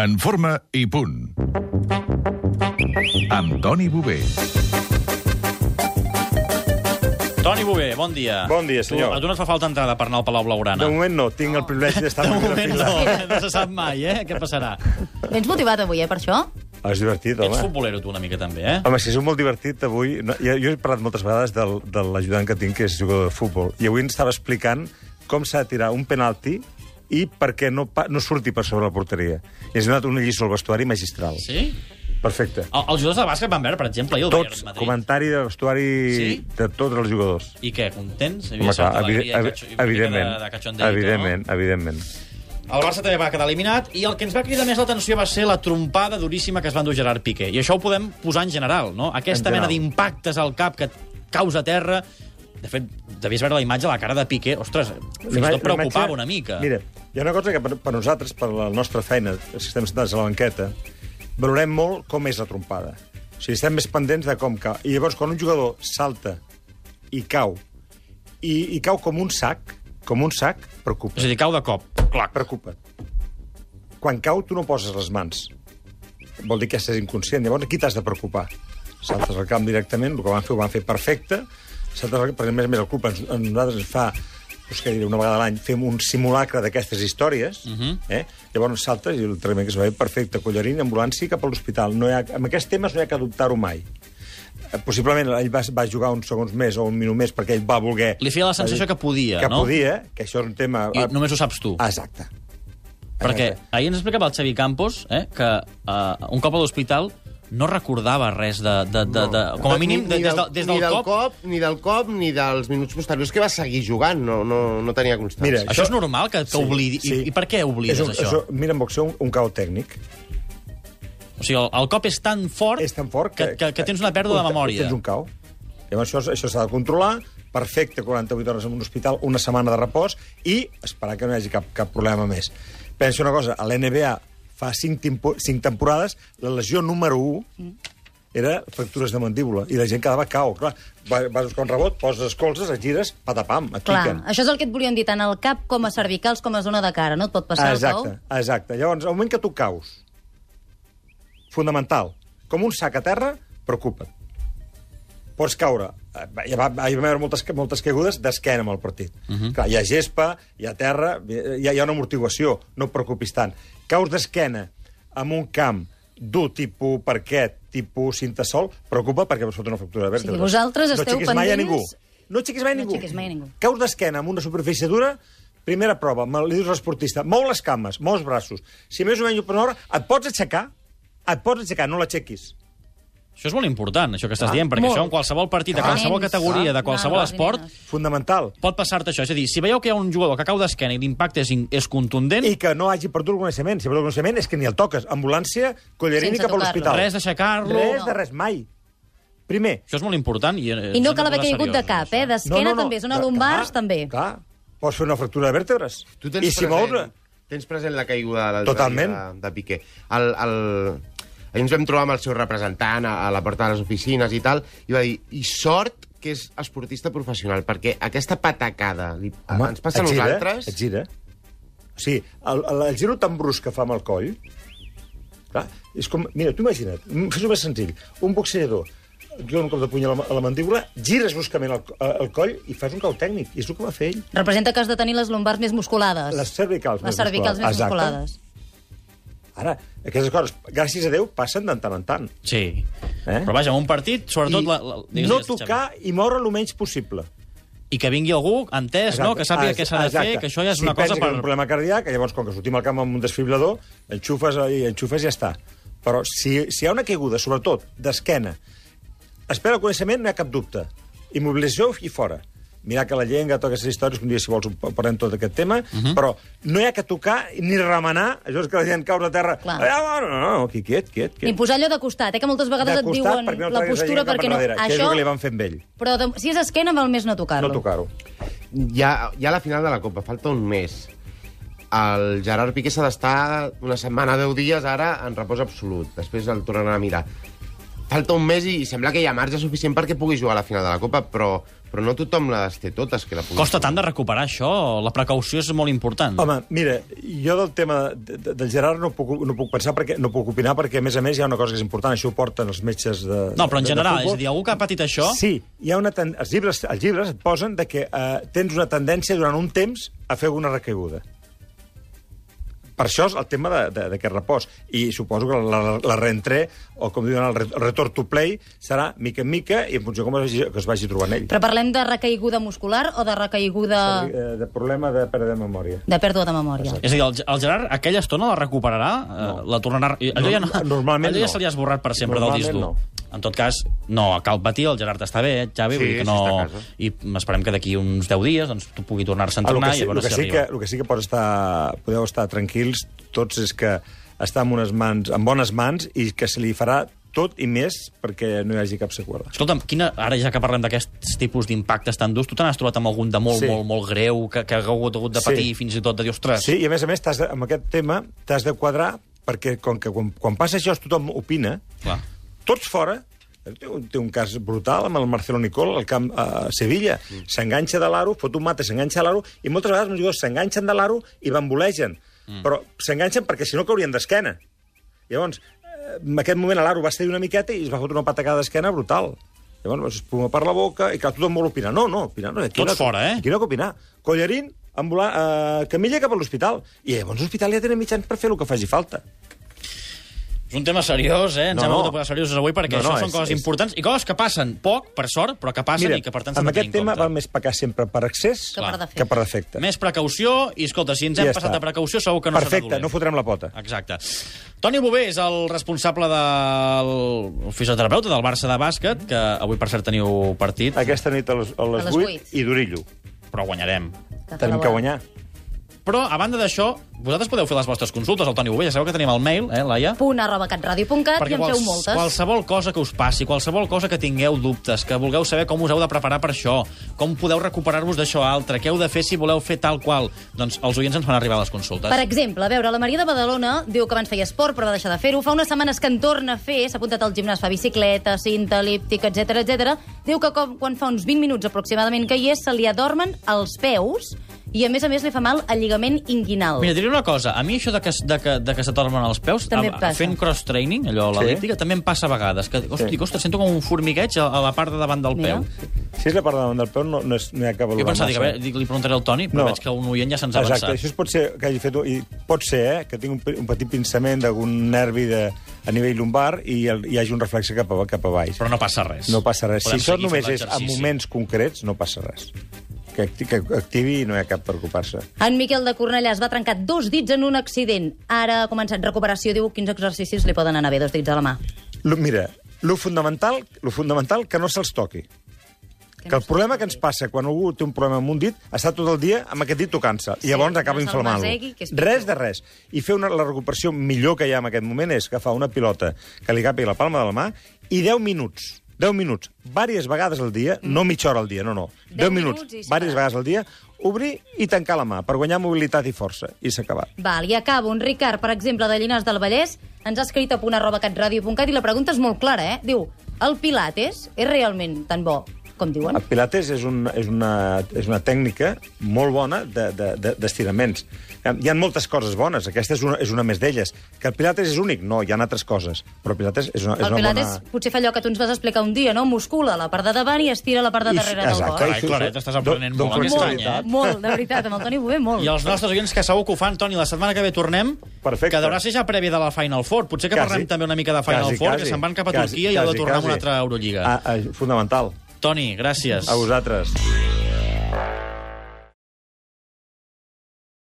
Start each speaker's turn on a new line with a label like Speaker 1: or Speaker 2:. Speaker 1: En forma i punt. Amb Toni Bové.
Speaker 2: Toni Bové, bon dia.
Speaker 3: Bon dia, senyor.
Speaker 2: Tu, a tu no et fa falta entrada per anar al Palau Blaugrana?
Speaker 3: De moment no, tinc el privilegi d'estar
Speaker 2: De
Speaker 3: en primera
Speaker 2: moment
Speaker 3: fila.
Speaker 2: no, no se sap mai, eh? Què passarà?
Speaker 4: Vens motivat avui, eh, per això?
Speaker 3: És divertit,
Speaker 2: Ets
Speaker 3: home.
Speaker 2: futbolero, tu, una mica, també, eh?
Speaker 3: Home, si és molt divertit avui... No, jo, jo he parlat moltes vegades del, de l'ajudant que tinc, que és jugador de futbol, i avui ens estava explicant com s'ha de tirar un penalti i perquè no, pa- no surti per sobre la porteria. I ens ha donat una lliçó al vestuari magistral.
Speaker 2: Sí? Ah,
Speaker 3: Perfecte.
Speaker 2: El, els jugadors de bàsquet van veure, per exemple, ahir el
Speaker 3: Tots,
Speaker 2: Bayern Madrid.
Speaker 3: comentari de vestuari
Speaker 2: Sí?
Speaker 3: de tots els jugadors.
Speaker 2: I què, contents? Hi havia
Speaker 3: Home, clar,
Speaker 2: certa
Speaker 3: evi-
Speaker 2: alegria i
Speaker 3: evi-
Speaker 2: catxo- i una mica
Speaker 3: evidentment,
Speaker 2: de, de cachondeito,
Speaker 3: evidentment, evidentment.
Speaker 2: No? El Barça també va quedar eliminat i el que ens va cridar més l'atenció va ser la trompada duríssima que es va endur Gerard Piqué. I això ho podem posar en general, no? Aquesta
Speaker 3: En
Speaker 2: mena
Speaker 3: general.
Speaker 2: d'impactes al cap que et causa terra... De fet, devies veure la imatge a la cara de Piqué. Ostres, fins i
Speaker 3: L'ima-
Speaker 2: tot preocupava
Speaker 3: l'imatge-
Speaker 2: una mica.
Speaker 3: Mira, hi ha una cosa que per, per nosaltres, per la nostra feina, els que estem sentats a la banqueta, valorem molt com és la trompada. O sigui, estem més pendents de com cau. I llavors, quan un jugador salta i cau, i, i cau com un sac, com un sac, preocupa.
Speaker 2: És a dir, cau de cop.
Speaker 3: Clar, preocupa't. Quan cau, tu no poses les mans. Vol dir que estàs inconscient. Llavors, aquí t'has de preocupar. Saltes al camp directament, el que van fer ho van fer perfecte. Saltes al camp, perquè, a més a més, el club ens, a nosaltres ens fa doncs, què diré, una vegada a l'any fem un simulacre d'aquestes històries, uh -huh.
Speaker 2: Mhm.
Speaker 3: eh? llavors saltes i el tractament que es va fer perfecte, collarín, ambulància i cap a l'hospital. No hi ha, amb aquests temes no hi ha que adoptar-ho mai. Eh, Possiblement ell va, va jugar uns segons més o un minut més perquè ell va voler...
Speaker 2: Li feia la sensació que podia,
Speaker 3: que
Speaker 2: no?
Speaker 3: podia, que això és un tema...
Speaker 2: I només ho saps tu.
Speaker 3: Ah, Exacte.
Speaker 2: Perquè
Speaker 3: Exacte. Eh,
Speaker 2: ahir ens explicava el Xavi Campos eh, que eh, un cop a l'hospital no recordava res de... de, de, de com a mínim, de,
Speaker 5: Ni- ni
Speaker 2: des, del, des del,
Speaker 5: ni del
Speaker 2: cop,
Speaker 5: cop... Ni del cop, ni dels minuts posteriors, que va seguir jugant, no, no, no tenia constància.
Speaker 3: Mira,
Speaker 2: Això és normal, que, que oblidi. I, I per què oblides
Speaker 3: és un,
Speaker 2: això?
Speaker 3: És un, mira, en boxeo, un, un cau tècnic.
Speaker 2: O sigui, el, el cop és tan fort,
Speaker 3: És tan fort
Speaker 2: que, que, que tens una pèrdua de memòria.
Speaker 3: Tens un cau. Llavors això, això s'ha de controlar, perfecte, 48 hores en un hospital, una setmana de repòs i esperar que no hi hagi cap, cap problema més. Penso una cosa, a l'NBA fa 5, tempo, 5 temporades, la lesió número 1
Speaker 2: Mm.
Speaker 3: era fractures de mandíbula, i la gent quedava cau. Clar, vas, vas buscar un rebot, poses les colzes, et gires, patapam, et
Speaker 4: Clar,
Speaker 3: piquen.
Speaker 4: això és el que et volien dir, tant al cap com a cervicals com a zona de cara, no et pot passar
Speaker 3: exacte,
Speaker 4: el cou?
Speaker 3: Exacte. Llavors, al moment que tu caus, fonamental, com un sac a terra, preocupa't. Pots caure. Eh, Hi va, hi va haver moltes, moltes caigudes d'esquena amb el partit. Uh -huh. Clar, hi ha gespa, hi ha terra, hi ha, hi ha una amortiguació, no et preocupis tant. Caus d'esquena amb un camp dur, tipus parquet, tipus cinta sol, preocupa perquè pots fotre una fractura de vèrtebra.
Speaker 4: vosaltres
Speaker 3: no
Speaker 4: esteu
Speaker 3: aixequis mai a
Speaker 4: pendents-
Speaker 3: ningú. No aixequis mai a
Speaker 4: No
Speaker 3: ningú.
Speaker 4: aixequis mai a ningú.
Speaker 3: Caus d'esquena amb una superfície dura, primera prova, me- li dius a l'esportista, mou les cames, mou els braços. Si més o menys per una hora, et pots aixecar? Et pots aixecar, no l'aixequis.
Speaker 2: Això és molt important, això que
Speaker 3: Ah,
Speaker 2: estàs dient, perquè
Speaker 4: molt.
Speaker 2: això en qualsevol partit, de qualsevol
Speaker 4: Nens,
Speaker 2: categoria, de
Speaker 4: clar.
Speaker 2: qualsevol
Speaker 4: Nanos i
Speaker 2: esport,
Speaker 4: nenes.
Speaker 3: Fundamental.
Speaker 2: pot passar-te això. És a dir, si veieu que hi ha un jugador que cau d'esquena i l'impacte és, in- és contundent,
Speaker 3: I que no hagi perdut el coneixement. Si perdut el coneixement és que ni el toques. Ambulància, collarini
Speaker 4: Sense
Speaker 3: cap a
Speaker 4: tocar-lo.
Speaker 3: l'hospital.
Speaker 2: res d'aixecar-lo...
Speaker 3: Res de res, mai. Primer,
Speaker 2: Això és molt important. I,
Speaker 4: I no cal haver caigut de cap, eh? D'esquena també, zona
Speaker 3: Clar,
Speaker 4: lumbars
Speaker 3: clar,
Speaker 4: també.
Speaker 3: Clar, pots fer una fractura de vèrtebres.
Speaker 5: tu tens
Speaker 3: I si
Speaker 5: present,
Speaker 3: mous...
Speaker 5: tens present la caiguda de,
Speaker 3: Totalment.
Speaker 5: de, de Piqué. El, el... Ahir ens vam trobar amb el seu representant a, a la porta de les oficines i tal, i va dir, i sort que és esportista professional, perquè aquesta patacada li, ens passa a
Speaker 3: et gira,
Speaker 5: nosaltres...
Speaker 3: Et gira. O sigui, el, el, el giro tan brusc que fa amb el coll... Clar, és com... Mira, tu imagina't, mm, fes-ho més senzill. Un boxejador et dona un cop de puny a la, a la mandíbula, gires bruscament el, el coll i fas un cau tècnic. I és el que va fer ell.
Speaker 4: Representa que has de tenir les lumbars més musculades.
Speaker 3: Les cervicals
Speaker 4: les
Speaker 3: més
Speaker 4: cervicals més
Speaker 3: Exacte.
Speaker 4: musculades.
Speaker 3: Ara, aquestes coses, gràcies a Déu, passen de tant en tant.
Speaker 2: Sí. Eh?
Speaker 3: Eh?
Speaker 2: Però vaja, en un partit, sobretot... la, la,
Speaker 3: I
Speaker 2: digues,
Speaker 3: no
Speaker 2: digues,
Speaker 3: tocar i moure el menys possible.
Speaker 2: Xavi. I que vingui algú entès, no? que sàpiga
Speaker 3: Ah,
Speaker 2: què s'ha de
Speaker 3: exacte.
Speaker 2: fer, que això ja és
Speaker 3: si
Speaker 2: una cosa
Speaker 3: pensa
Speaker 2: per...
Speaker 3: que és un problema cardíac, llavors, com que sortim al camp amb un desfibrilador, enxufes i enxufes i ja està. Però si, si hi ha una caiguda, sobretot, d'esquena, espera el coneixement, no hi ha cap dubte. Immobilització i fora. Mirar que la llengua, totes aquestes històries, que un dia, si vols, ho parlem tot aquest tema, uh
Speaker 2: Mhm.
Speaker 3: -huh. però no hi ha que tocar ni remenar, això és que la gent cau a terra.
Speaker 4: Clar.
Speaker 3: Ah, no, no, no, qui- quiet, quiet,
Speaker 4: Ni
Speaker 3: quiet.
Speaker 4: posar allò de costat, eh? Que moltes vegades
Speaker 3: De
Speaker 4: et diuen
Speaker 3: perquè no
Speaker 4: la
Speaker 3: traguis
Speaker 4: postura
Speaker 3: gent cap
Speaker 4: perquè no...
Speaker 3: enrere, Que és el que li van fer amb ell,
Speaker 4: Però de... si és esquena, val més no tocar-lo.
Speaker 3: no tocar-ho.
Speaker 5: ja, ja a la final de la Copa, falta un mes. El Gerard Piqué s'ha d'estar una setmana, deu dies, ara, en repòs absolut. Després el tornaran a mirar. falta un mes i sembla que hi ha marge suficient perquè pugui jugar a la final de la Copa, però, però no tothom les té totes. Que la pugui
Speaker 2: Costa
Speaker 5: jugar.
Speaker 2: tant de recuperar això, la precaució és molt important.
Speaker 3: Home, mira, jo del tema de, de, del Gerard no puc, no puc pensar, perquè, no puc opinar, perquè a més a més hi ha una cosa que és important, això ho porten els metges de
Speaker 2: no, però en
Speaker 3: de- de
Speaker 2: general, és
Speaker 3: futbol.
Speaker 2: a dir, algú que ha patit això...
Speaker 3: Sí, hi ha una ten... els, llibres, els llibres et posen de que eh, tens una tendència durant un temps a fer una recaiguda. Per això és el tema de- de- d'aquest repòs. I suposo que la, la, la reentré, o com diuen, el re- el retorn to play, serà mica en mica i en funció com es vagi, que es vagi trobant ell.
Speaker 4: Però parlem de recaiguda muscular o de recaiguda
Speaker 3: Eh, De problema de perdre de memòria.
Speaker 4: de pèrdua de memòria?
Speaker 2: És a dir, el, el Gerard aquella estona la recuperarà, no. la tornarà... i Allò ja, no,
Speaker 3: Norm- normalment
Speaker 2: allò ja
Speaker 3: no.
Speaker 2: se li ha esborrat per sempre del
Speaker 3: Normalment
Speaker 2: disc dur.
Speaker 3: no.
Speaker 2: En tot cas, no, cal patir, el Gerard està bé, eh, Xavi,
Speaker 5: Sí,
Speaker 2: vull dir que
Speaker 5: sí,
Speaker 2: no...
Speaker 5: està a casa.
Speaker 2: I esperem que d'aquí uns 10 dies doncs, tu pugui tornar-se a
Speaker 3: Ah, lo
Speaker 2: entrenar
Speaker 3: que sí,
Speaker 2: i a
Speaker 3: lo
Speaker 2: veure
Speaker 3: que
Speaker 2: si
Speaker 3: sí que,
Speaker 2: arriba.
Speaker 3: lo que sí que pots estar, podeu estar tranquils tots és que està en, unes mans, en bones mans i que se li farà tot i més perquè no hi hagi cap seqüela.
Speaker 2: Escolta'm, quina, ara ja que parlem d'aquests tipus d'impactes tan durs, tu te n'has trobat amb algun de molt,
Speaker 3: Sí.
Speaker 2: sí. molt, molt greu, que, que ha hagut, hagut de
Speaker 3: Sí.
Speaker 2: patir, sí. fins i tot de dir, ostres...
Speaker 3: Sí, i a més a més, t'has de, amb aquest tema t'has de quadrar perquè com que quan, quan passa això tothom opina,
Speaker 2: Clar.
Speaker 3: tots fora, té un, té un cas brutal amb el Marcelo Nicol al camp a Sevilla.
Speaker 2: Mm.
Speaker 3: S'enganxa de l'aro, fot un mate, s'enganxa a l'aro, i moltes vegades els jugadors s'enganxen de l'aro i bambolegen. Mm. Però s'enganxen perquè si no caurien d'esquena. Llavors, eh, en aquest moment a l'aro va ser una miqueta i es va fotre una patacada d'esquena brutal. Llavors, espuma per la boca, i clar, tothom vol opinar. No, no, opinar no. Aquí
Speaker 2: Tots
Speaker 3: no,
Speaker 2: fora, eh?
Speaker 3: Aquí no que opinar. Collarín, ambular, eh, Camilla cap a l'hospital. I llavors l'hospital ja tenen mitjans per fer el que faci falta.
Speaker 2: És un tema seriós, eh? Ens
Speaker 3: No,
Speaker 2: hem hagut
Speaker 3: no.
Speaker 2: de posar seriosos avui perquè
Speaker 3: No,
Speaker 2: no,
Speaker 3: no,
Speaker 2: això són
Speaker 3: és-
Speaker 2: coses
Speaker 3: és-
Speaker 2: importants i coses que passen poc, per sort, però que passen i que per tant s'han
Speaker 3: amb
Speaker 2: de tenir
Speaker 3: aquest
Speaker 2: en
Speaker 3: tema
Speaker 2: compte.
Speaker 3: val més pecar sempre per excés
Speaker 4: Que per defecte.
Speaker 3: que per defecte.
Speaker 2: Més precaució, i escolta, si ens hem
Speaker 3: Ja
Speaker 2: ja passat
Speaker 3: està.
Speaker 2: de precaució segur que no serà
Speaker 3: Perfecte,
Speaker 2: dolent.
Speaker 3: no fotrem la pota.
Speaker 2: Exacte. Toni Bové és el responsable del fisioterapeuta del Barça de bàsquet, que avui, per cert, teniu partit,
Speaker 3: Aquesta nit a les, a les,
Speaker 4: A les
Speaker 3: 8,
Speaker 4: vuit.
Speaker 3: i Dorillo.
Speaker 2: però guanyarem.
Speaker 3: Tenim que guanyar.
Speaker 2: Però, a banda d'això, vosaltres podeu fer les vostres consultes al Toni Bové, ja sabeu que tenim el mail, eh, Laia?
Speaker 4: punt arroba catradio.cat i en feu moltes.
Speaker 2: qualsevol cosa que us passi, qualsevol cosa que tingueu dubtes, que vulgueu saber com us heu de preparar per això, com podeu recuperar-vos d'això altre, què heu de fer si voleu fer tal qual, doncs els oients ens fan arribar les consultes.
Speaker 4: Per exemple, a veure, la Maria de Badalona diu que abans feia esport, però va deixar de fer-ho. Fa unes setmanes que en torna a fer, s'ha apuntat al gimnàs, fa bicicleta, cinta, elíptica, etc etc. Diu que com, quan fa uns 20 minuts aproximadament que hi és, se li adormen els peus i, a més a més, li fa mal el lligament inguinal.
Speaker 2: Mira, et diré una cosa. A mi això de que, de que, de que se tornen els peus, a,
Speaker 4: També em passa.
Speaker 2: fent cross-training, allò, a l'elíptica, també em passa a vegades. Que, hosti,
Speaker 3: Sí.
Speaker 2: sí. ostres, sento com un formigueig a, a la part de davant del
Speaker 4: Mira.
Speaker 2: peu.
Speaker 3: Si és la part de davant del peu, no, no, és, no hi ha cap
Speaker 2: Jo
Speaker 3: valor.
Speaker 2: pensava, dic, a veure, dic, li preguntaré al Toni, però
Speaker 3: No.
Speaker 2: no. veig que un oient ja se'ns ha
Speaker 3: Exacte,
Speaker 2: avançat.
Speaker 3: això es pot ser que hagi fet... un- I pot ser, eh?, que tingui un, pe- un petit pinçament d'algun nervi de, a nivell lumbar i el, hi hagi un reflex cap a, cap a baix.
Speaker 2: Però no passa res.
Speaker 3: No passa res.
Speaker 2: Podem
Speaker 3: si això
Speaker 2: seguir
Speaker 3: només
Speaker 2: fent
Speaker 3: és en
Speaker 2: l'exercici.
Speaker 3: moments concrets, no passa res. Que, acti, que activi i no hi ha cap per ocupar-se.
Speaker 4: En Miquel de Cornellà es va trencar dos dits en un accident. Ara ha començat recuperació, diu quins exercicis li poden anar bé, dos dits a la mà.
Speaker 3: Lo, mira, lo fundamental, lo fundamental que no se'ls toqui. Que, el problema que ens passa quan algú té un problema amb un dit està tot el dia amb aquest dit tocant-se.
Speaker 4: Sí,
Speaker 3: I llavors
Speaker 4: que
Speaker 3: acaba
Speaker 4: no se'l masegui,
Speaker 3: inflamant-lo.
Speaker 4: que és pitjor.
Speaker 3: Res de res. I fer una, la recuperació millor que hi ha en aquest moment és agafar una pilota que li capi a la palma de la mà i 10 minuts, 10 minuts, diverses vegades al dia, no mitja hora al dia, no, no. 10,
Speaker 4: 10
Speaker 3: minuts,
Speaker 4: Mm. minuts i s'ha
Speaker 3: diverses vegades al dia, obrir i tancar la mà per guanyar mobilitat i força. I s'ha acabat.
Speaker 4: Val, i acabo. Un Ricard, per exemple, de Llinars del Vallès, ens ha escrit a punt arroba catradio.cat i la pregunta és molt clara, eh? Diu, el Pilates és realment tan bo com diuen?
Speaker 3: El pilates és, un, és, una, és una tècnica molt bona de- de- de- d'estiraments. De, hi ha moltes coses bones, aquesta és una, és una més d'elles. Que el pilates és únic? No, hi ha altres coses. Però el pilates és una, és
Speaker 4: El
Speaker 3: una
Speaker 4: Pilates
Speaker 3: bona...
Speaker 4: potser fa allò que tu ens vas explicar un dia, no? Muscula la part de davant i estira la part de darrere del
Speaker 3: Exacte, Doncs
Speaker 4: cos.
Speaker 2: Carai,
Speaker 3: i-
Speaker 2: Claret, estàs
Speaker 3: don-
Speaker 2: aprenent
Speaker 3: don
Speaker 2: molt aquest any,
Speaker 3: Francesc.
Speaker 2: eh?
Speaker 4: Molt, molt, de veritat, amb el Toni Bové, molt.
Speaker 2: I els nostres oients que segur que ho fan, Toni, la setmana que ve tornem,
Speaker 3: Perfecte.
Speaker 2: que deurà ser ja prèvia de la Final Four. Potser que
Speaker 3: Quasi.
Speaker 2: parlem també una mica de Final
Speaker 3: Quasi,
Speaker 2: Four,
Speaker 3: quasi.
Speaker 2: que se'n van cap a
Speaker 3: Quasi,
Speaker 2: Turquia i heu de
Speaker 3: quasi,
Speaker 2: tornar a una
Speaker 3: quasi.
Speaker 2: altra Euroliga.
Speaker 3: Ah, ah, fundamental.
Speaker 2: Toni, gràcies.
Speaker 3: A vosaltres.